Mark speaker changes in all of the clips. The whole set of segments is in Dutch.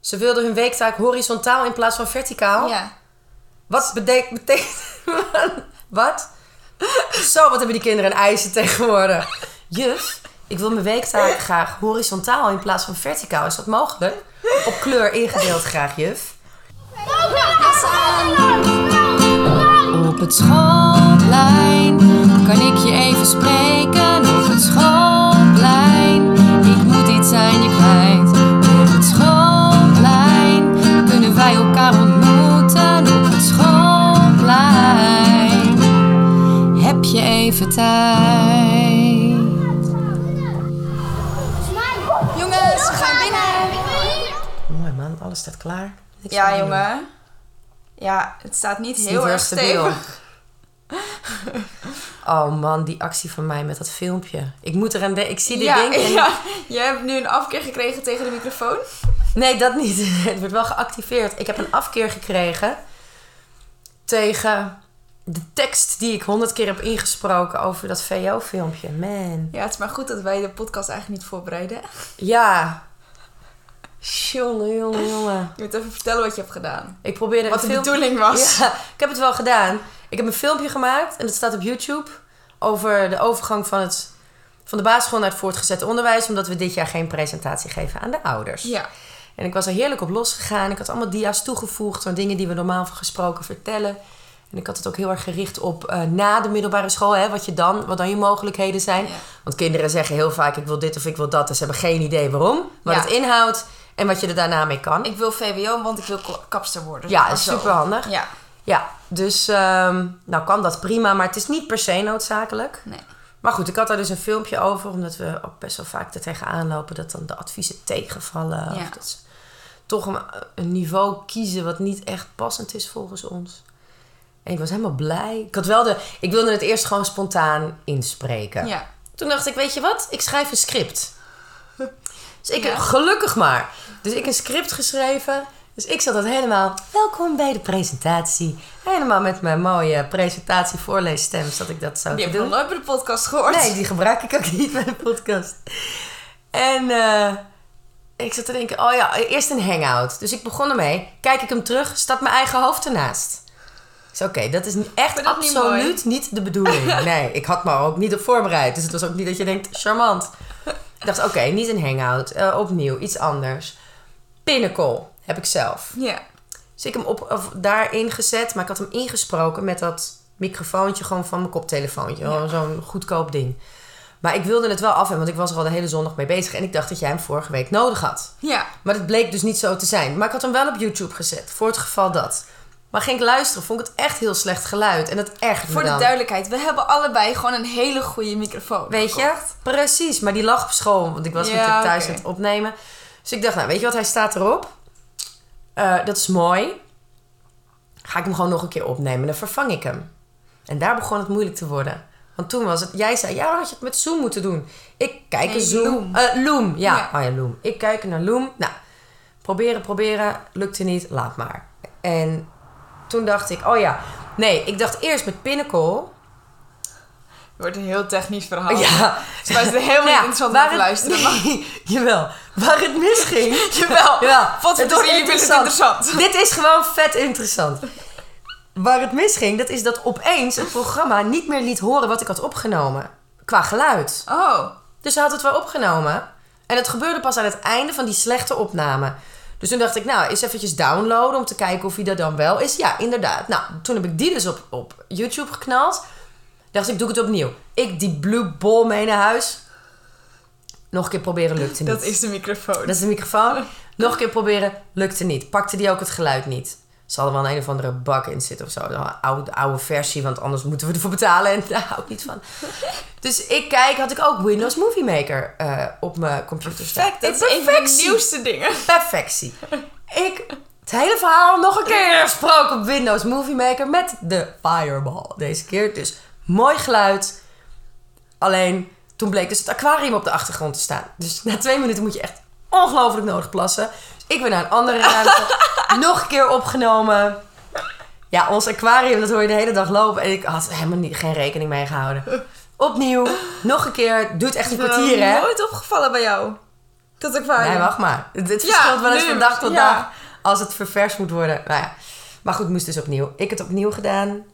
Speaker 1: Ze wilden hun weektaak horizontaal in plaats van verticaal.
Speaker 2: Ja.
Speaker 1: Wat betek- betekent... wat? Zo, wat hebben die kinderen een eisen tegenwoordig. Juf, ik wil mijn weektaak graag horizontaal in plaats van verticaal. Is dat mogelijk? Op kleur ingedeeld graag, juf.
Speaker 3: Op het schoolplein kan ik je even spreken. Op het schoolplein, ik moet iets aan je kwijt. Op het schoolplein kunnen wij elkaar ontmoeten. Op het schoolplein heb je even tijd.
Speaker 2: Jongens, we gaan binnen.
Speaker 1: Mooi man, alles staat klaar. Niks
Speaker 2: Ja,
Speaker 1: aan doen.
Speaker 2: jongen. Ja, het staat niet
Speaker 1: Het is
Speaker 2: heel
Speaker 1: niet
Speaker 2: erg
Speaker 1: stabiel.
Speaker 2: stevig.
Speaker 1: Oh man, die actie van mij met dat filmpje. Ik moet eraan denken. Ik zie dit
Speaker 2: Ja,
Speaker 1: ding en
Speaker 2: ja, je hebt nu een afkeer gekregen tegen de microfoon.
Speaker 1: Nee, dat niet. Het wordt wel geactiveerd. Ik heb een afkeer gekregen tegen de tekst die ik honderd keer heb ingesproken over dat VO-filmpje. Man.
Speaker 2: Ja, het is maar goed dat wij de podcast eigenlijk niet voorbereiden.
Speaker 1: Ja. Jongen, jongen, jongen.
Speaker 2: Je moet even vertellen wat je hebt gedaan.
Speaker 1: Ik probeerde
Speaker 2: Wat
Speaker 1: een
Speaker 2: de
Speaker 1: filmpje...
Speaker 2: bedoeling was.
Speaker 1: Ja, ik heb het wel gedaan. Ik heb een filmpje gemaakt en dat staat op YouTube over de overgang van, het, van de basisschool naar het voortgezet onderwijs, omdat we dit jaar geen presentatie geven aan de ouders.
Speaker 2: Ja.
Speaker 1: En ik was er heerlijk op losgegaan. Ik had allemaal dia's toegevoegd van dingen die we normaal gesproken vertellen. En ik had het ook heel erg gericht op eh, na de middelbare school, hè, wat, je dan, wat dan je mogelijkheden zijn.
Speaker 2: Ja.
Speaker 1: Want kinderen zeggen heel vaak: ik wil dit of ik wil dat. En ze hebben geen idee waarom, wat
Speaker 2: Ja.
Speaker 1: het inhoudt en wat je er daarna mee kan.
Speaker 2: Ik wil VWO, want ik wil ko- kapster worden.
Speaker 1: Oh. ja,
Speaker 2: Of
Speaker 1: is
Speaker 2: zo.
Speaker 1: super handig.
Speaker 2: Ja,
Speaker 1: Ja, dus ehm, nou kan dat prima, maar het is niet per se noodzakelijk.
Speaker 2: nee.
Speaker 1: Maar goed, ik had daar dus een filmpje over, omdat we ook best wel vaak er tegenaan lopen dat dan de adviezen tegenvallen.
Speaker 2: Ja.
Speaker 1: Of dat ze toch een, een niveau kiezen wat niet echt passend is volgens ons. En ik was helemaal blij. Ik, had wel de, ik wilde het eerst gewoon spontaan inspreken.
Speaker 2: Ja.
Speaker 1: Toen dacht ik, weet je wat? Ik schrijf een script. Dus ik,
Speaker 2: Ja.
Speaker 1: gelukkig maar. Dus ik een script geschreven. Dus ik zat dat helemaal, welkom bij de presentatie. Helemaal met mijn mooie presentatievoorleesstem zat ik dat zo
Speaker 2: Die
Speaker 1: te
Speaker 2: heb ik
Speaker 1: doen.
Speaker 2: nog nooit bij de podcast gehoord.
Speaker 1: Nee, die gebruik ik ook niet bij de podcast. En eh, ik zat te denken, oh ja, eerst een hangout. Dus ik begon ermee. Kijk ik hem terug, staat mijn eigen hoofd ernaast. Dus oké, dat is echt
Speaker 2: Vind dat niet
Speaker 1: absoluut
Speaker 2: mooi?
Speaker 1: niet, de bedoeling. Nee, ik had me er ook niet op voorbereid. Dus het was ook niet dat je denkt, charmant. Ik dacht, oké, niet een hangout. eh, opnieuw, iets anders. Pinnacle heb ik zelf.
Speaker 2: Ja.
Speaker 1: Dus ik hem op, of daarin gezet, maar ik had hem ingesproken met dat microfoontje gewoon van mijn koptelefoontje. Gewoon Zo'n goedkoop ding. Maar ik wilde het wel af hebben, want ik was er al de hele zondag mee bezig. En ik dacht dat jij hem vorige week nodig had.
Speaker 2: Ja.
Speaker 1: Maar dat bleek dus niet zo te zijn. Maar ik had hem wel op YouTube gezet, voor het geval dat. Maar ging ik luisteren, vond ik het echt heel slecht geluid. En dat echt
Speaker 2: Voor de duidelijkheid, we hebben allebei gewoon een hele goede microfoon.
Speaker 1: Weet je? Precies, maar die lag op school, want ik was
Speaker 2: Oh, Ja,
Speaker 1: natuurlijk thuis
Speaker 2: oké.
Speaker 1: aan het opnemen. Dus ik dacht, nou, weet je wat, hij staat erop. Eh, dat is mooi. Ga ik hem gewoon nog een keer opnemen en dan vervang ik hem. En daar begon het moeilijk te worden. Want toen was het, jij zei, ja, had je het met Zoom moeten doen. Ik kijk
Speaker 2: Nee,
Speaker 1: een Zoom.
Speaker 2: Loom.
Speaker 1: Eh, Loom, ja.
Speaker 2: Ja.
Speaker 1: Oh ja, Loom. Ik kijk naar Loom. Nou, proberen, proberen, lukte niet, laat maar. En toen dacht ik, oh ja, nee, ik dacht eerst met Pinnacle.
Speaker 2: Het wordt een heel technisch verhaal.
Speaker 1: Ja,
Speaker 2: Dus wij zitten helemaal
Speaker 1: Nou
Speaker 2: niet
Speaker 1: ja,
Speaker 2: interessant
Speaker 1: waar
Speaker 2: om te
Speaker 1: het-
Speaker 2: luisteren. Maar...
Speaker 1: Nee, jawel. Waar het misging.
Speaker 2: Jawel.
Speaker 1: Ja,
Speaker 2: Potverdorie,
Speaker 1: het is
Speaker 2: je vindt het
Speaker 1: interessant.
Speaker 2: interessant.
Speaker 1: Dit is gewoon vet interessant. Waar het misging, dat is dat opeens het programma niet meer liet horen wat ik had opgenomen. Qua geluid.
Speaker 2: Oh.
Speaker 1: Dus ze had het wel opgenomen. En het gebeurde pas aan het einde van die slechte opname. Dus toen dacht ik, nou, eens eventjes downloaden om te kijken of hij dat dan wel is. Ja, inderdaad. Nou, toen heb ik die dus op, op YouTube geknald. Dacht ik, doe ik het opnieuw. Ik die blue ball mee naar huis. Nog een keer proberen, lukte niet.
Speaker 2: Dat is de microfoon.
Speaker 1: Dat is de microfoon. Nog een keer proberen, lukte niet. Pakte die ook het geluid niet. Zal er wel een, een of andere bak in zitten of zo. Een oude, oude versie, want anders moeten we ervoor betalen. En daar hou ik niet van. Dus ik kijk, had ik ook Windows Movie Maker eh, op mijn computer staan.
Speaker 2: Perfect. Dat is een van de
Speaker 1: Perfectie.
Speaker 2: nieuwste dingen.
Speaker 1: Perfectie. Ik het hele verhaal nog een keer gesproken op Windows Movie Maker met de Fireball deze keer. Dus mooi geluid. Alleen toen bleek dus het aquarium op de achtergrond te staan. Dus na twee minuten moet je echt ongelooflijk nodig plassen. Dus ik ben naar een andere ruimte. nog een keer opgenomen. Ja, ons aquarium, dat hoor je de hele dag lopen. En ik had helemaal niet, geen rekening mee gehouden. Opnieuw, nog een keer. Duurt echt een
Speaker 2: Dat is
Speaker 1: kwartier, hè?
Speaker 2: nooit opgevallen bij jou. Dat is ook waar.
Speaker 1: Nee,
Speaker 2: ja.
Speaker 1: wacht maar. Het, het
Speaker 2: Ja,
Speaker 1: verschilt wel eens
Speaker 2: nu,
Speaker 1: van dag tot
Speaker 2: ja.
Speaker 1: dag. Als het ververs moet worden. Nou ja. Maar goed, moest dus opnieuw. Ik het opnieuw gedaan.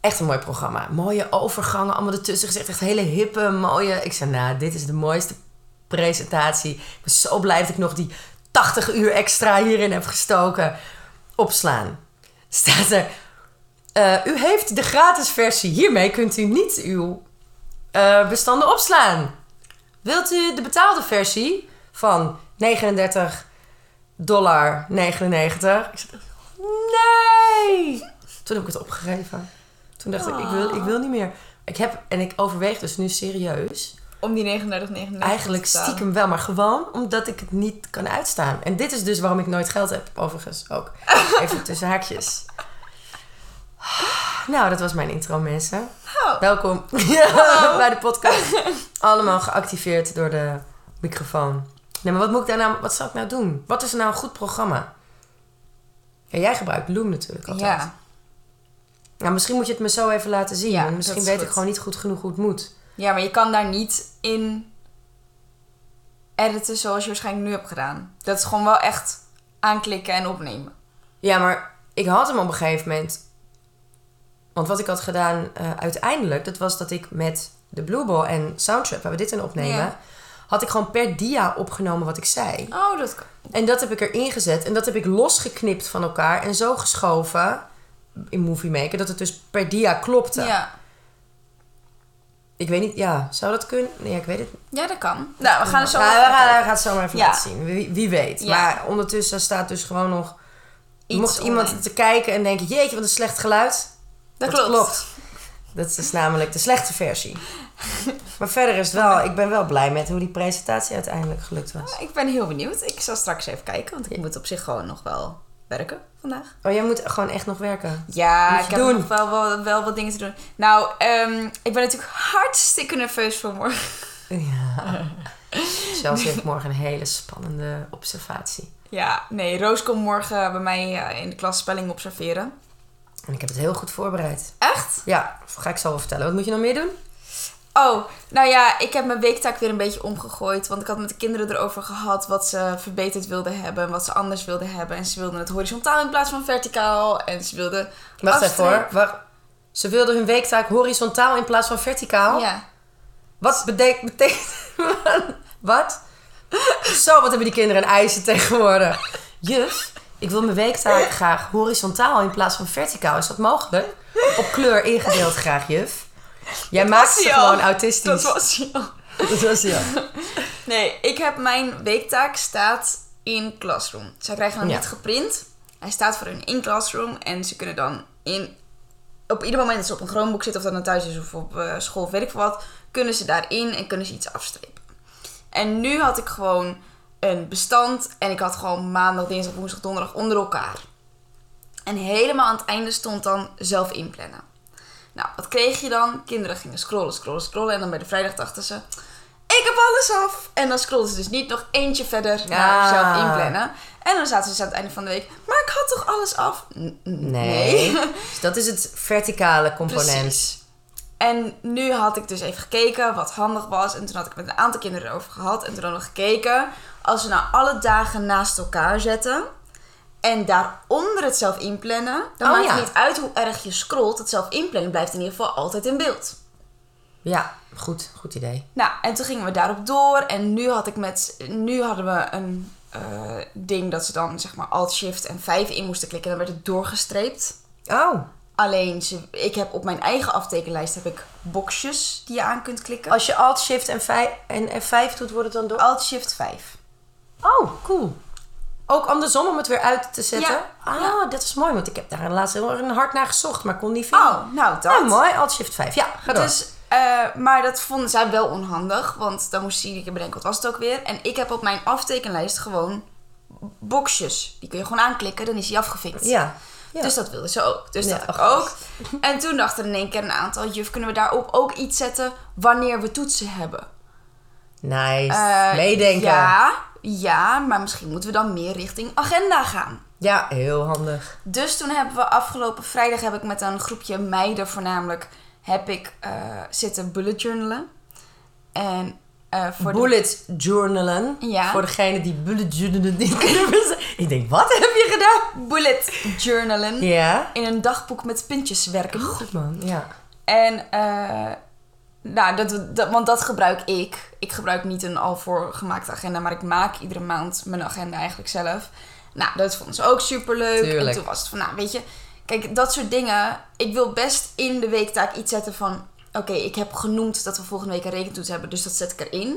Speaker 1: Echt een mooi programma. Mooie overgangen, allemaal ertussen gezegd. Echt hele hippe, mooie. Ik zei, nou, dit is de mooiste presentatie. Ik ben zo blij dat ik nog die 80 uur extra hierin heb gestoken. Opslaan. Staat er. eh, u heeft de gratis versie. Hiermee kunt u niet uw eh, bestanden opslaan. Wilt u de betaalde versie van 39 dollar 99? Ik zeg, nee! Toen heb ik het opgegeven. Toen dacht ik, ik wil, ik wil niet meer. Ik heb, en ik overweeg dus nu serieus.
Speaker 2: Om die 39, 99
Speaker 1: Eigenlijk
Speaker 2: te betalen.
Speaker 1: stiekem wel, maar gewoon omdat ik het niet kan uitstaan. En dit is dus waarom ik nooit geld heb, overigens ook. Even tussen haakjes. Nou, dat was mijn intro, mensen.
Speaker 2: Oh.
Speaker 1: Welkom bij de podcast. Allemaal geactiveerd door de microfoon. Nee, maar wat moet ik daar nou, wat zou ik nou doen? Wat is nou een goed programma? Ja, jij gebruikt Loom natuurlijk altijd.
Speaker 2: Ja.
Speaker 1: Nou, misschien moet je het me zo even laten zien.
Speaker 2: Ja,
Speaker 1: want misschien
Speaker 2: dat is
Speaker 1: weet
Speaker 2: goed.
Speaker 1: ik gewoon niet goed genoeg hoe het moet.
Speaker 2: ja, maar je kan daar niet in editen zoals je waarschijnlijk nu hebt gedaan. Dat is gewoon wel echt aanklikken en opnemen.
Speaker 1: Ja, maar ik had hem op een gegeven moment. Want wat ik had gedaan eh, uiteindelijk, dat was dat ik met de Blue Ball en Soundtrap, waar we dit in opnemen,
Speaker 2: Ja.
Speaker 1: had ik gewoon per dia opgenomen wat ik zei.
Speaker 2: Oh, dat kan.
Speaker 1: En dat heb ik erin gezet en dat heb ik losgeknipt van elkaar en zo geschoven in Movie Maker, dat het dus per dia klopte.
Speaker 2: Ja.
Speaker 1: Ik weet niet, ja, zou dat kunnen? Nee, ja, ik weet het
Speaker 2: ja, dat kan. Nou, we gaan er zo
Speaker 1: Ja,
Speaker 2: over
Speaker 1: we gaan,
Speaker 2: kijken.
Speaker 1: we gaan het zo maar even
Speaker 2: Ja.
Speaker 1: laten zien. Wie, wie weet.
Speaker 2: Ja.
Speaker 1: Maar ondertussen staat dus gewoon nog...
Speaker 2: Iets
Speaker 1: mocht iemand
Speaker 2: online.
Speaker 1: te kijken en denken... Jeetje, wat een slecht geluid.
Speaker 2: Dat klopt.
Speaker 1: Dat is dus namelijk de slechte versie. maar verder is het wel... Ik ben wel blij met hoe die presentatie uiteindelijk gelukt was.
Speaker 2: Ik ben heel benieuwd. Ik zal straks even kijken, want ik moet op zich gewoon nog wel werken vandaag.
Speaker 1: Oh, jij moet gewoon echt nog werken.
Speaker 2: Ja,
Speaker 1: Moet je
Speaker 2: ik heb
Speaker 1: doen.
Speaker 2: nog wel, wel, wel wat dingen te doen. Nou, ehm, ik ben natuurlijk hartstikke nerveus voor morgen.
Speaker 1: Ja. Zelfs heeft morgen een hele spannende observatie.
Speaker 2: Ja, nee, Roos komt morgen bij mij eh, in de klas spelling observeren.
Speaker 1: En ik heb het heel goed voorbereid.
Speaker 2: Echt?
Speaker 1: Ja, ga ik zo wel vertellen. Wat moet je nog meer doen?
Speaker 2: Oh, nou ja, ik heb mijn weektaak weer een beetje omgegooid. Want ik had met de kinderen erover gehad wat ze verbeterd wilden hebben. En wat ze anders wilden hebben. En ze wilden het horizontaal in plaats van verticaal. En ze wilden...
Speaker 1: Wacht even
Speaker 2: afstrepen.
Speaker 1: hoor. Wacht. Ze wilden hun weektaak horizontaal in plaats van verticaal.
Speaker 2: Ja.
Speaker 1: Wat betek- betekent... wat? Zo, wat hebben die kinderen een eisen tegenwoordig. Juf, ik wil mijn weektaak graag horizontaal in plaats van verticaal. Is dat mogelijk? Op kleur ingedeeld graag, juf. Jij maakt
Speaker 2: was
Speaker 1: ze
Speaker 2: hij al.
Speaker 1: gewoon autistisch.
Speaker 2: Dat was je al.
Speaker 1: Dat was hij al.
Speaker 2: Nee, ik heb mijn weektaak staat in Classroom. Zij krijgen hem
Speaker 1: Ja.
Speaker 2: niet geprint. Hij staat voor hun in Classroom. En ze kunnen dan in, op ieder moment dat ze op een Chromebook zitten... of dat nou thuis is of op eh, school of weet ik veel wat... kunnen ze daarin en kunnen ze iets afstrepen. En nu had ik gewoon een bestand. En ik had gewoon maandag, dinsdag, woensdag, donderdag onder elkaar. En helemaal aan het einde stond dan zelf inplannen. Nou, wat kreeg je dan? Kinderen gingen scrollen, scrollen, scrollen. En dan bij de vrijdag dachten ze... Ik heb alles af! En dan scrollden ze dus niet nog eentje verder naar
Speaker 1: Ah.
Speaker 2: zelf inplannen. En dan zaten ze dus aan het einde van de week... Maar ik had toch alles af? N- n-
Speaker 1: Nee. Dus dat is het verticale component.
Speaker 2: Precies. En nu had ik dus even gekeken wat handig was. En toen had ik het met een aantal kinderen erover gehad. En toen hadden we gekeken. Als we nou alle dagen naast elkaar zetten. En daaronder het zelf inplannen. Dan
Speaker 1: Oh,
Speaker 2: maakt
Speaker 1: ja.
Speaker 2: het niet uit hoe erg je scrolt. Het zelf inplannen blijft in ieder geval altijd in beeld.
Speaker 1: Ja, goed. Goed idee.
Speaker 2: Nou, en toen gingen we daarop door. En nu, had ik met, nu hadden we een eh, ding dat ze dan zeg maar Alt-Shift en 5 in moesten klikken. En dan werd het doorgestreept.
Speaker 1: Oh,
Speaker 2: Alleen, ze, ik heb op mijn eigen aftekenlijst heb ik boxjes die je aan kunt klikken.
Speaker 1: als je Alt, Shift en, vij- en F5 doet, wordt het dan door...
Speaker 2: Alt Shift 5.
Speaker 1: Oh, cool. Ook andersom om het weer uit te zetten?
Speaker 2: Ja,
Speaker 1: Ah, dat is mooi, want ik heb daar laatst heel erg hard naar gezocht, maar kon niet vinden.
Speaker 2: Oh, nou dat.
Speaker 1: Ah, mooi. Alt Shift 5. Ja, ga door.
Speaker 2: Dus, eh, maar dat vonden zij wel onhandig, want dan moest je iedere keer bedenken wat was het ook weer. En ik heb op mijn aftekenlijst gewoon boxjes. Die kun je gewoon aanklikken, dan is die afgefikt.
Speaker 1: ja. ja.
Speaker 2: Dus dat wilden ze ook. Dus
Speaker 1: Ja,
Speaker 2: dat had ik
Speaker 1: ach,
Speaker 2: ook. En toen dachten in één keer een aantal juf, kunnen we daarop ook iets zetten wanneer we toetsen hebben?
Speaker 1: nice.
Speaker 2: Eh,
Speaker 1: Meedenken. Ja.
Speaker 2: Ja, ja, maar misschien moeten we dan meer richting agenda gaan.
Speaker 1: heel handig.
Speaker 2: Dus toen hebben we afgelopen vrijdag heb ik met een groepje meiden voornamelijk heb ik eh, zitten bullet journalen. En eh, voor de-
Speaker 1: bullet journalen.
Speaker 2: Ja.
Speaker 1: Voor degene die bullet journalen niet kunnen verzinnen. Ik denk, wat heb je gedaan?
Speaker 2: bullet journalen.
Speaker 1: Ja.
Speaker 2: In een dagboek met puntjes werken.
Speaker 1: Goed man, ja.
Speaker 2: En, eh, nou, dat, dat, want dat gebruik ik. Ik gebruik niet een al voorgemaakte agenda, maar ik maak iedere maand mijn agenda eigenlijk zelf. Nou, dat vond ze ook superleuk. En
Speaker 1: Tuurlijk.
Speaker 2: toen was het van, nou, weet je, kijk, dat soort dingen. Ik wil best in de weektaak iets zetten van, oké, ik heb genoemd dat we volgende week een rekentoets hebben, dus dat zet ik erin.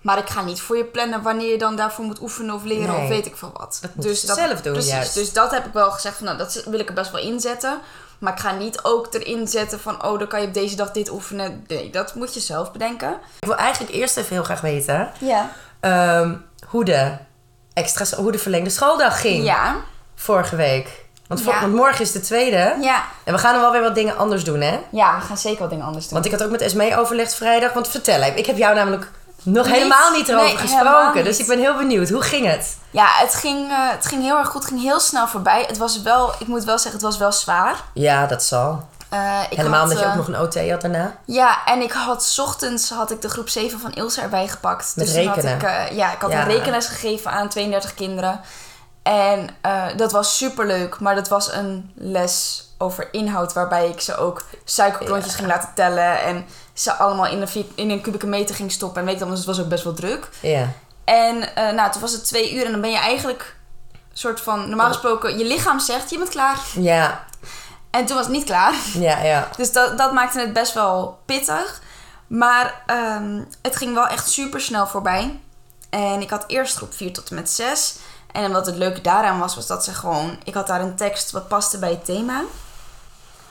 Speaker 2: Maar ik ga niet voor je plannen wanneer je dan daarvoor moet oefenen of leren
Speaker 1: Nee.
Speaker 2: of weet ik veel wat.
Speaker 1: Dat moeten ze zelf doen,
Speaker 2: Dus precies,
Speaker 1: juist.
Speaker 2: Dus dat heb ik wel gezegd van, nou, dat wil ik er best wel inzetten. Maar ik ga niet ook erin zetten van, oh, dan kan je op deze dag dit oefenen. Nee, dat moet je zelf bedenken.
Speaker 1: Ik wil eigenlijk eerst even heel graag weten
Speaker 2: Ja.
Speaker 1: ehm, hoe, de extra, hoe de verlengde schooldag ging
Speaker 2: Ja.
Speaker 1: vorige week. Want, vor-
Speaker 2: Ja.
Speaker 1: want morgen is de tweede.
Speaker 2: Ja.
Speaker 1: En we gaan er wel weer wat dingen anders doen, hè?
Speaker 2: Ja, we gaan zeker wat dingen anders doen.
Speaker 1: Want ik had ook met Esmee overlegd vrijdag. Want vertel even, ik heb jou namelijk nog
Speaker 2: Niet-
Speaker 1: helemaal niet erover
Speaker 2: nee, helemaal
Speaker 1: gesproken.
Speaker 2: niet.
Speaker 1: Dus ik ben heel benieuwd. Hoe ging het?
Speaker 2: Ja, het ging, eh, het ging heel erg goed. Het ging heel snel voorbij. Het was wel, ik moet wel zeggen, het was wel zwaar.
Speaker 1: Ja, dat zal.
Speaker 2: Eh, ik
Speaker 1: Helemaal
Speaker 2: had,
Speaker 1: omdat je ook
Speaker 2: eh,
Speaker 1: nog een OT had daarna.
Speaker 2: Ja, en ik had 's ochtends had ik de groep 7 van Ilse erbij gepakt.
Speaker 1: Met
Speaker 2: toen had
Speaker 1: rekenen.
Speaker 2: ik, eh, ja, ik had
Speaker 1: Ja.
Speaker 2: een rekenles gegeven aan 32 kinderen. En eh, dat was superleuk, maar dat was een les over inhoud waarbij ik ze ook suikerklontjes ging laten tellen en ze allemaal in een, vi- in een kubieke meter ging stoppen en weet ik dan, dus het was ook best wel druk.
Speaker 1: Ja.
Speaker 2: En eh, nou, toen was het twee uur en dan ben je eigenlijk soort van, normaal gesproken, je lichaam zegt je bent klaar.
Speaker 1: Ja,
Speaker 2: En toen was het niet klaar.
Speaker 1: ja, ja.
Speaker 2: Dus dat, dat maakte het best wel pittig. Maar ehm, het ging wel echt super snel voorbij. En ik had eerst groep 4 tot en met 6. En wat het leuke daaraan was, was dat ze gewoon... Ik had daar een tekst wat paste bij het thema.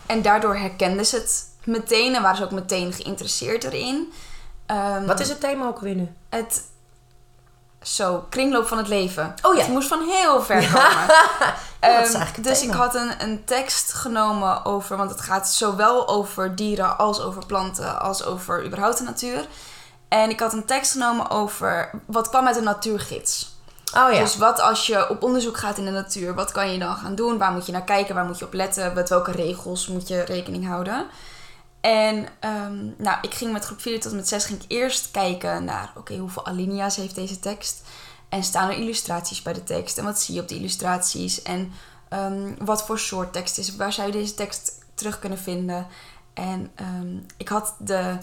Speaker 2: En daardoor herkenden ze het meteen. En waren ze ook meteen geïnteresseerd erin. Ehm,
Speaker 1: Wat is het thema ook alweer nu?
Speaker 2: het zo, kringloop van het leven.
Speaker 1: Oh ja.
Speaker 2: Het moest van heel ver komen.
Speaker 1: Ja, dat Oh, is
Speaker 2: Ehm,
Speaker 1: eigenlijk het
Speaker 2: dus
Speaker 1: thema.
Speaker 2: ik had een, een tekst genomen over, want het gaat zowel over dieren als over planten, als over überhaupt de natuur. En ik had een tekst genomen over wat kwam uit een natuurgids.
Speaker 1: Oh ja.
Speaker 2: Dus wat als je op onderzoek gaat in de natuur, wat kan je dan gaan doen? Waar moet je naar kijken? Waar moet je op letten? Met welke regels moet je rekening houden? En ehm, nou, ik ging met groep 4 tot en met 6 ging ik eerst kijken naar oké, hoeveel alinea's heeft deze tekst? En staan er illustraties bij de tekst? En wat zie je op de illustraties? En ehm, wat voor soort tekst is het? Waar zou je deze tekst terug kunnen vinden? En ehm, ik had de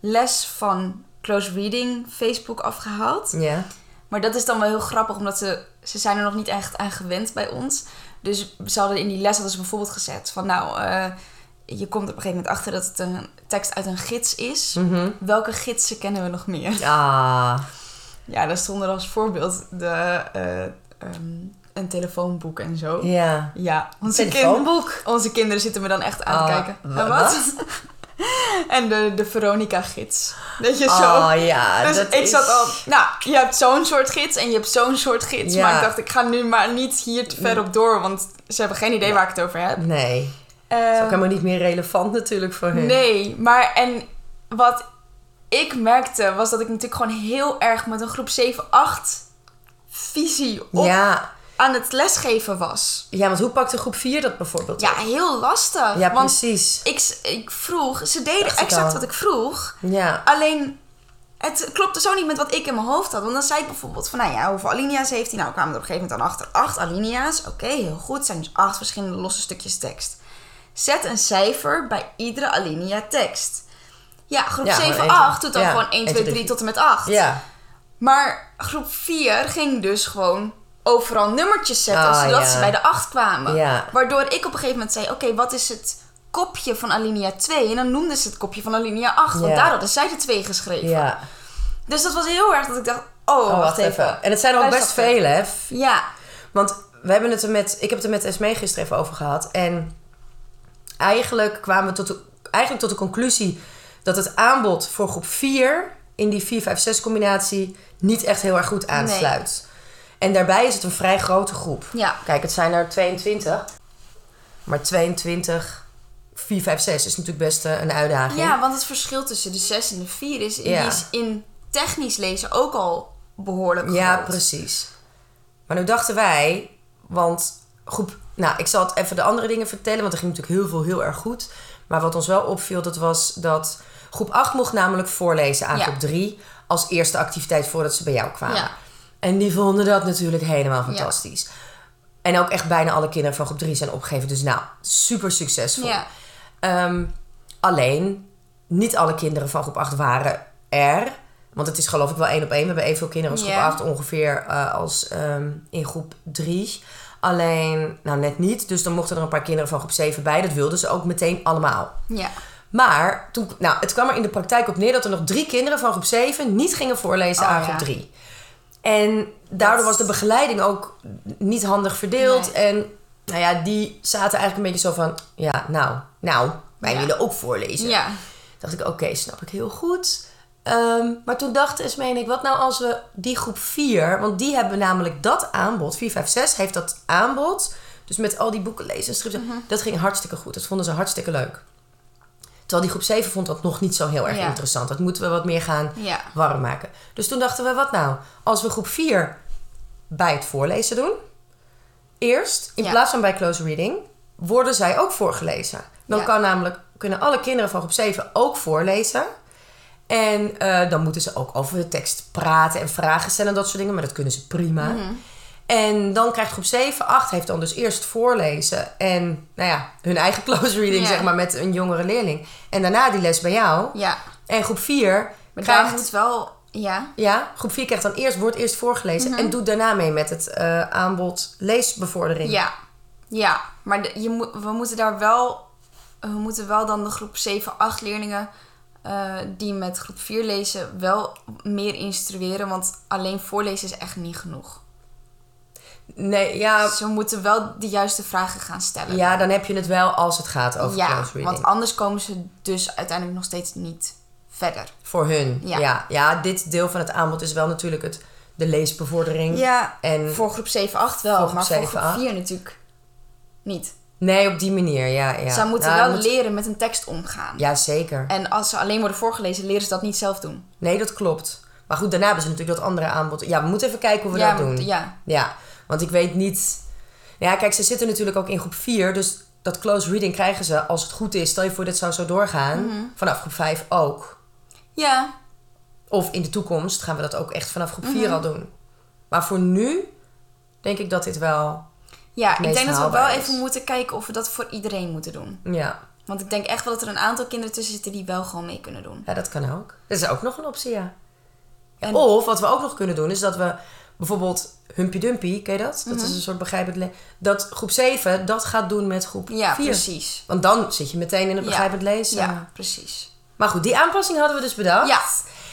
Speaker 2: les van close reading Facebook afgehaald.
Speaker 1: ja.
Speaker 2: Maar dat is dan wel heel grappig, omdat ze, ze zijn er nog niet echt aan gewend bij ons. Dus ze hadden in die les hadden ze bijvoorbeeld gezet van nou, eh, je komt op een gegeven moment achter dat het een tekst uit een gids is.
Speaker 1: Mhm.
Speaker 2: Welke gidsen kennen we nog meer?
Speaker 1: Ah,
Speaker 2: Ja, daar stonden als voorbeeld de, eh, ehm, een telefoonboek en zo.
Speaker 1: ja.
Speaker 2: Ja, onze, kind,
Speaker 1: Telefoonboek.
Speaker 2: onze kinderen zitten me dan echt aan te
Speaker 1: Ah,
Speaker 2: kijken.
Speaker 1: wa-
Speaker 2: En wat? en de, de Veronica-gids. Dat je zo...
Speaker 1: Oh ja.
Speaker 2: Dus
Speaker 1: dat
Speaker 2: ik
Speaker 1: is-
Speaker 2: zat al, nou, je hebt zo'n soort gids en je hebt zo'n soort gids.
Speaker 1: Ja.
Speaker 2: Maar ik dacht, ik ga nu maar niet hier te ver op door, want ze hebben geen idee waar ik het over heb.
Speaker 1: Nee. Dat is ook
Speaker 2: Eh,
Speaker 1: helemaal niet meer relevant natuurlijk voor hun.
Speaker 2: nee, maar en wat ik merkte was dat ik natuurlijk gewoon heel erg met een groep 7, 8 visie op
Speaker 1: Ja.
Speaker 2: aan het lesgeven was.
Speaker 1: ja, want hoe pakte groep 4 dat bijvoorbeeld?
Speaker 2: Ja, heel lastig.
Speaker 1: Ja,
Speaker 2: want
Speaker 1: precies.
Speaker 2: ik, s- ik vroeg, ze deden
Speaker 1: Dacht ik
Speaker 2: exact
Speaker 1: al.
Speaker 2: wat ik vroeg.
Speaker 1: Ja.
Speaker 2: Alleen, het klopte zo niet met wat ik in mijn hoofd had. Want dan zei ik bijvoorbeeld van, nou ja, hoeveel alinea's heeft hij? Nou, kwamen er op een gegeven moment dan achter. Acht alinea's, oké, heel goed. Het zijn dus acht verschillende losse stukjes tekst. Zet een cijfer bij iedere alinea tekst. Ja, groep
Speaker 1: Ja,
Speaker 2: 7,
Speaker 1: gewoon één,
Speaker 2: 8 doet dan
Speaker 1: ja,
Speaker 2: gewoon 1, 2, 3 tot en met 8.
Speaker 1: Ja.
Speaker 2: Maar groep 4 ging dus gewoon overal nummertjes zetten,
Speaker 1: Ah,
Speaker 2: zodat
Speaker 1: ja.
Speaker 2: ze bij de 8 kwamen.
Speaker 1: Ja.
Speaker 2: Waardoor ik op een gegeven moment zei, oké, wat is het kopje van alinea 2? En dan noemden ze het kopje van alinea 8, want
Speaker 1: Ja.
Speaker 2: daar hadden zij de 2 geschreven.
Speaker 1: Ja.
Speaker 2: Dus dat was heel erg dat ik dacht, oh,
Speaker 1: Oh, wacht even. En het zijn er ook best
Speaker 2: Luister
Speaker 1: veel, hè?
Speaker 2: Ja,
Speaker 1: Want we hebben het er met, ik heb het er met Esmee gisteren even over gehad. En eigenlijk kwamen we tot de, eigenlijk tot de conclusie dat het aanbod voor groep 4 in die 4-5-6 combinatie niet echt heel erg goed aansluit. En daarbij is het een vrij grote groep.
Speaker 2: Ja.
Speaker 1: Kijk, het zijn er 22. Maar 22, 4, 5, 6 is natuurlijk best eh, een uitdaging.
Speaker 2: ja, want het verschil tussen de 6 en de 4 is, die
Speaker 1: Ja.
Speaker 2: is in technisch lezen ook al behoorlijk groot.
Speaker 1: Ja, precies. Maar nu dachten wij, want groep... Nou, ik zal het even de andere dingen vertellen, want er ging natuurlijk heel veel heel erg goed. Maar wat ons wel opviel, dat was dat groep 8 mocht namelijk voorlezen aan
Speaker 2: Ja.
Speaker 1: groep 3. als eerste activiteit voordat ze bij jou kwamen.
Speaker 2: Ja.
Speaker 1: En die vonden dat natuurlijk helemaal fantastisch. En ook echt bijna alle kinderen van groep 3 zijn opgegeven. Dus nou, super succesvol.
Speaker 2: Ja.
Speaker 1: Ehm, alleen, niet alle kinderen van groep 8 waren er. Want het is geloof ik wel één op één. We hebben evenveel kinderen als groep
Speaker 2: Ja.
Speaker 1: 8 ongeveer eh, als ehm, in groep 3. Alleen, nou net niet. Dus dan mochten er een paar kinderen van groep 7 bij. Dat wilden ze ook meteen allemaal.
Speaker 2: Ja.
Speaker 1: Maar toen, nou, het kwam er in de praktijk op neer dat er nog drie kinderen van groep 7 niet gingen voorlezen
Speaker 2: Oh,
Speaker 1: aan
Speaker 2: ja.
Speaker 1: groep 3. En daardoor
Speaker 2: Dat-
Speaker 1: was de begeleiding ook niet handig verdeeld.
Speaker 2: Nee.
Speaker 1: En nou ja, die zaten eigenlijk een beetje zo van: ja, nou, nou, wij
Speaker 2: Ja.
Speaker 1: willen ook voorlezen.
Speaker 2: Ja.
Speaker 1: Dacht ik: oké, snap ik heel goed. Ehm, maar toen dacht Esme en ik: wat nou als we die groep 4, want die hebben namelijk dat aanbod, 4, 5, 6 heeft dat aanbod. Dus met al die boeken lezen en strips,
Speaker 2: Mhm.
Speaker 1: dat ging hartstikke goed. Dat vonden ze hartstikke leuk. Terwijl die groep 7 vond dat nog niet zo heel erg
Speaker 2: Ja.
Speaker 1: interessant. Dat moeten we wat meer gaan
Speaker 2: Ja.
Speaker 1: warm maken. Dus toen dachten we, wat nou? Als we groep 4 bij het voorlezen doen, eerst, in
Speaker 2: Ja.
Speaker 1: plaats van bij close reading, worden zij ook voorgelezen. Dan
Speaker 2: Ja.
Speaker 1: kan namelijk, kunnen alle kinderen van groep 7 ook voorlezen. En eh, dan moeten ze ook over de tekst praten en vragen stellen en dat soort dingen. Maar dat kunnen ze prima.
Speaker 2: Mhm.
Speaker 1: En dan krijgt groep 7, 8 heeft dan dus eerst voorlezen. En nou ja, hun eigen close reading
Speaker 2: Ja.
Speaker 1: zeg maar met een jongere leerling. En daarna die les bij jou.
Speaker 2: Ja.
Speaker 1: En groep 4
Speaker 2: Maar
Speaker 1: krijgt...
Speaker 2: daar moet wel... Ja.
Speaker 1: Ja, groep 4 krijgt dan eerst, wordt eerst voorgelezen.
Speaker 2: Mhm.
Speaker 1: En doet daarna mee met het eh, aanbod leesbevordering.
Speaker 2: Ja. Ja. Maar de- je moet, we moeten daar wel... We moeten wel dan de groep 7, 8 leerlingen... eh, die met groep 4 lezen, wel meer instrueren. Want alleen voorlezen is echt niet genoeg.
Speaker 1: Nee, ja,
Speaker 2: Ze moeten wel de juiste vragen gaan stellen.
Speaker 1: ja, dan heb je het wel als het gaat over
Speaker 2: Ja,
Speaker 1: close reading.
Speaker 2: want anders komen ze dus uiteindelijk nog steeds niet verder.
Speaker 1: Voor hun, ja.
Speaker 2: Ja.
Speaker 1: ja. dit deel van het aanbod is wel natuurlijk het, de leesbevordering.
Speaker 2: Ja,
Speaker 1: En,
Speaker 2: voor groep 7, 8 wel,
Speaker 1: Voor groep
Speaker 2: maar
Speaker 1: 7,
Speaker 2: voor groep
Speaker 1: 8.
Speaker 2: 4 natuurlijk niet.
Speaker 1: Nee, op die manier, ja. ja.
Speaker 2: Ze moeten
Speaker 1: Nou,
Speaker 2: wel
Speaker 1: moet-
Speaker 2: leren met een tekst omgaan.
Speaker 1: Ja, zeker.
Speaker 2: En als ze alleen worden voorgelezen, leren ze dat niet zelf doen.
Speaker 1: Nee, dat klopt. Maar goed, daarna hebben ze natuurlijk dat andere aanbod. Ja, we moeten even kijken hoe we
Speaker 2: ja,
Speaker 1: dat doen.
Speaker 2: ja,
Speaker 1: Ja, want ik weet niet. Nou ja, kijk, ze zitten natuurlijk ook in groep 4. Dus dat close reading krijgen ze, als het goed is, stel je voor dit zou zo doorgaan,
Speaker 2: Mhm.
Speaker 1: vanaf groep 5 ook.
Speaker 2: ja,
Speaker 1: Of in de toekomst gaan we dat ook echt vanaf groep
Speaker 2: Mhm.
Speaker 1: 4 al doen. Maar voor nu denk ik dat dit wel.
Speaker 2: ja.
Speaker 1: meest
Speaker 2: ik denk dat we wel
Speaker 1: haalbaar is.
Speaker 2: even moeten kijken of we dat voor iedereen moeten doen.
Speaker 1: Ja,
Speaker 2: Want ik denk echt wel dat er een aantal kinderen tussen zitten die wel gewoon mee kunnen doen.
Speaker 1: ja dat kan ook. Dat is ook nog een optie, ja. Ja,
Speaker 2: En-
Speaker 1: Of wat we ook nog kunnen doen, is dat we bijvoorbeeld Humpy Dumpy, ken je dat? Dat
Speaker 2: Mhm.
Speaker 1: is een soort begrijpend. le- Dat groep 7 dat gaat doen met groep 4.
Speaker 2: Ja, precies.
Speaker 1: Want dan zit je meteen in het
Speaker 2: Ja.
Speaker 1: begrijpend lezen.
Speaker 2: Ja, precies.
Speaker 1: Maar goed, die aanpassing hadden we dus bedacht.
Speaker 2: Ja.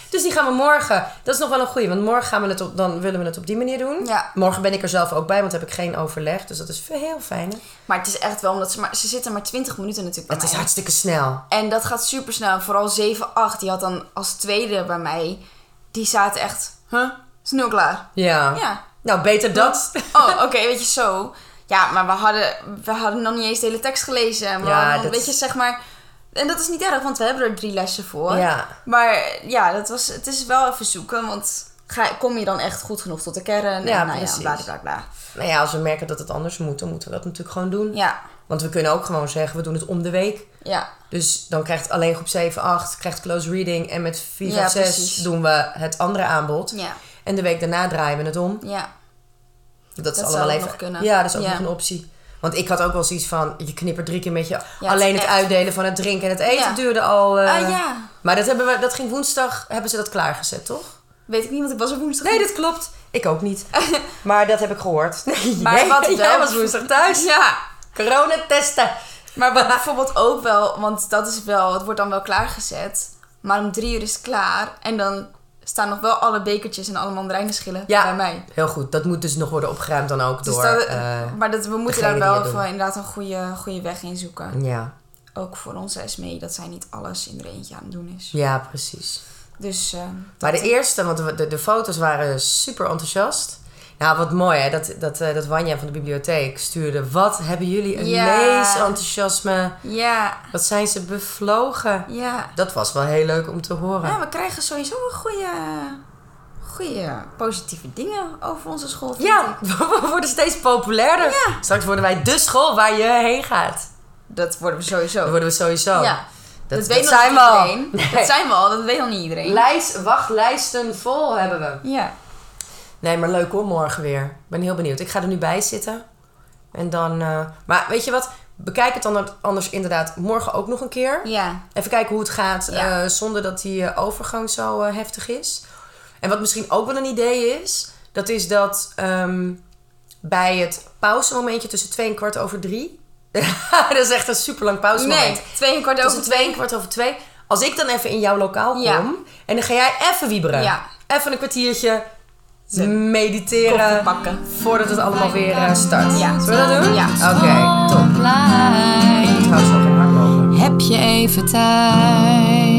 Speaker 1: Dus die gaan we morgen. Dat is nog wel een goeie, want morgen gaan we het op, dan willen we het op die manier doen.
Speaker 2: Ja.
Speaker 1: Morgen ben ik er zelf ook bij, want heb ik geen overleg. Dus dat is veel- heel fijn. hè?
Speaker 2: Maar het is echt wel omdat ze maar... Ze zitten maar 20 minuten natuurlijk bij
Speaker 1: Het is
Speaker 2: mij.
Speaker 1: hartstikke snel.
Speaker 2: En dat gaat super snel. Vooral 7, 8, die had dan als tweede bij mij. Die zaten echt. Huh? Is nu al klaar?
Speaker 1: Ja.
Speaker 2: Ja.
Speaker 1: Nou, beter dat.
Speaker 2: Oh, oké, weet je zo. Ja, maar we hadden, we hadden nog niet eens de hele tekst gelezen. En we
Speaker 1: Ja,
Speaker 2: hadden nog,
Speaker 1: dat
Speaker 2: weet je,
Speaker 1: is-
Speaker 2: zeg maar. En dat is niet erg, want we hebben er drie lessen voor.
Speaker 1: Ja.
Speaker 2: Maar ja, dat was, het is wel even zoeken, want ga, kom je dan echt goed genoeg tot de kern?
Speaker 1: Ja,
Speaker 2: en, nou
Speaker 1: precies.
Speaker 2: ja, bla, bla, bla.
Speaker 1: Nou ja, als we merken dat het anders moet, dan moeten we dat natuurlijk gewoon doen.
Speaker 2: Ja,
Speaker 1: Want we kunnen ook gewoon zeggen, we doen het om de week.
Speaker 2: ja,
Speaker 1: Dus dan krijgt alleen groep 7, 8, krijgt close reading. En met 4,
Speaker 2: Ja,
Speaker 1: 5, 6
Speaker 2: precies.
Speaker 1: doen we het andere aanbod.
Speaker 2: ja,
Speaker 1: En de week daarna draaien we het om.
Speaker 2: ja.
Speaker 1: Dat, is
Speaker 2: zou
Speaker 1: allemaal
Speaker 2: ook
Speaker 1: even.
Speaker 2: nog kunnen.
Speaker 1: Ja, dat is ook
Speaker 2: Ja.
Speaker 1: nog een optie. Want ik had ook wel zoiets van: je knippert drie keer met je.
Speaker 2: het
Speaker 1: Alleen
Speaker 2: is
Speaker 1: het
Speaker 2: echt-
Speaker 1: uitdelen van het drinken en het eten
Speaker 2: Ja.
Speaker 1: duurde al. eh,
Speaker 2: ah ja,
Speaker 1: Maar dat, hebben we, dat ging woensdag, hebben ze dat klaargezet, toch?
Speaker 2: weet ik niet, want ik was er woensdag.
Speaker 1: Nee,
Speaker 2: niet.
Speaker 1: dat klopt. Ik ook niet. maar dat heb ik gehoord. Nee,
Speaker 2: Maar
Speaker 1: jij-
Speaker 2: wat
Speaker 1: jij
Speaker 2: wel-
Speaker 1: was woensdag thuis.
Speaker 2: Ja,
Speaker 1: Coronatesten.
Speaker 2: Maar wat bijvoorbeeld ook wel, want dat is wel, het wordt dan wel klaargezet. Maar om drie uur is het klaar. En dan staan nog wel alle bekertjes en alle mandarijnenschillen
Speaker 1: Ja.
Speaker 2: bij mij.
Speaker 1: Heel goed. Dat moet dus nog worden opgeruimd dan ook
Speaker 2: Dus
Speaker 1: door.
Speaker 2: dat,
Speaker 1: eh,
Speaker 2: maar dat, we
Speaker 1: degene
Speaker 2: moeten daar
Speaker 1: die
Speaker 2: wel
Speaker 1: het
Speaker 2: even
Speaker 1: doen.
Speaker 2: inderdaad een goede, goede weg in zoeken.
Speaker 1: ja.
Speaker 2: Ook voor onze SME, dat zij niet alles in er eentje aan het doen is.
Speaker 1: ja, precies.
Speaker 2: Dus eh,
Speaker 1: Maar de eerste, want de, de, de foto's waren super enthousiast. Nou, wat mooi hè, dat, dat, eh, dat Wanja van de bibliotheek stuurde. Wat hebben jullie een
Speaker 2: Ja.
Speaker 1: leesenthousiasme.
Speaker 2: ja,
Speaker 1: Wat zijn ze bevlogen.
Speaker 2: ja.
Speaker 1: Dat was wel heel leuk om te horen.
Speaker 2: Ja, we krijgen sowieso wel goede, goede positieve dingen over onze school. vind
Speaker 1: Ja,
Speaker 2: ik.
Speaker 1: we worden steeds populairder.
Speaker 2: Ja.
Speaker 1: Straks worden wij de school waar je heen gaat.
Speaker 2: Dat worden we
Speaker 1: Dat
Speaker 2: sowieso.
Speaker 1: worden we sowieso.
Speaker 2: Ja.
Speaker 1: Dat
Speaker 2: Dat, weet nog
Speaker 1: zijn
Speaker 2: niet
Speaker 1: we al.
Speaker 2: iedereen.
Speaker 1: Nee.
Speaker 2: Dat zijn we al, dat weet nog niet iedereen.
Speaker 1: Lijst, wachtlijsten vol hebben we.
Speaker 2: ja.
Speaker 1: Nee, maar leuk hoor, morgen weer. Ik ben heel benieuwd. Ik ga er nu bij zitten. En dan... eh, maar weet je wat? Bekijk het dan anders inderdaad morgen ook nog een keer.
Speaker 2: Ja.
Speaker 1: Even kijken hoe het gaat
Speaker 2: Ja.
Speaker 1: eh, zonder dat die eh, overgang zo eh, heftig is. En wat misschien ook wel een idee is, dat is dat ehm, bij het pauzemomentje tussen twee en kwart over drie. dat is echt een super lang pauzemoment.
Speaker 2: Nee, twee en kwart over
Speaker 1: Tussen twee en
Speaker 2: twee.
Speaker 1: Dus kwart over twee. Als ik dan even in jouw lokaal kom
Speaker 2: Ja.
Speaker 1: en dan ga jij even wieberen.
Speaker 2: Ja.
Speaker 1: Even een kwartiertje
Speaker 2: Zin. Koffie
Speaker 1: mediteren
Speaker 2: pakken.
Speaker 1: voordat het allemaal weer eh, start.
Speaker 2: Ja.
Speaker 1: Zullen we dat doen?
Speaker 2: Ja.
Speaker 1: Oké, top. Ik moet
Speaker 3: Schoolplein.
Speaker 1: trouwens nog in hardlopen.
Speaker 3: Heb je even tijd?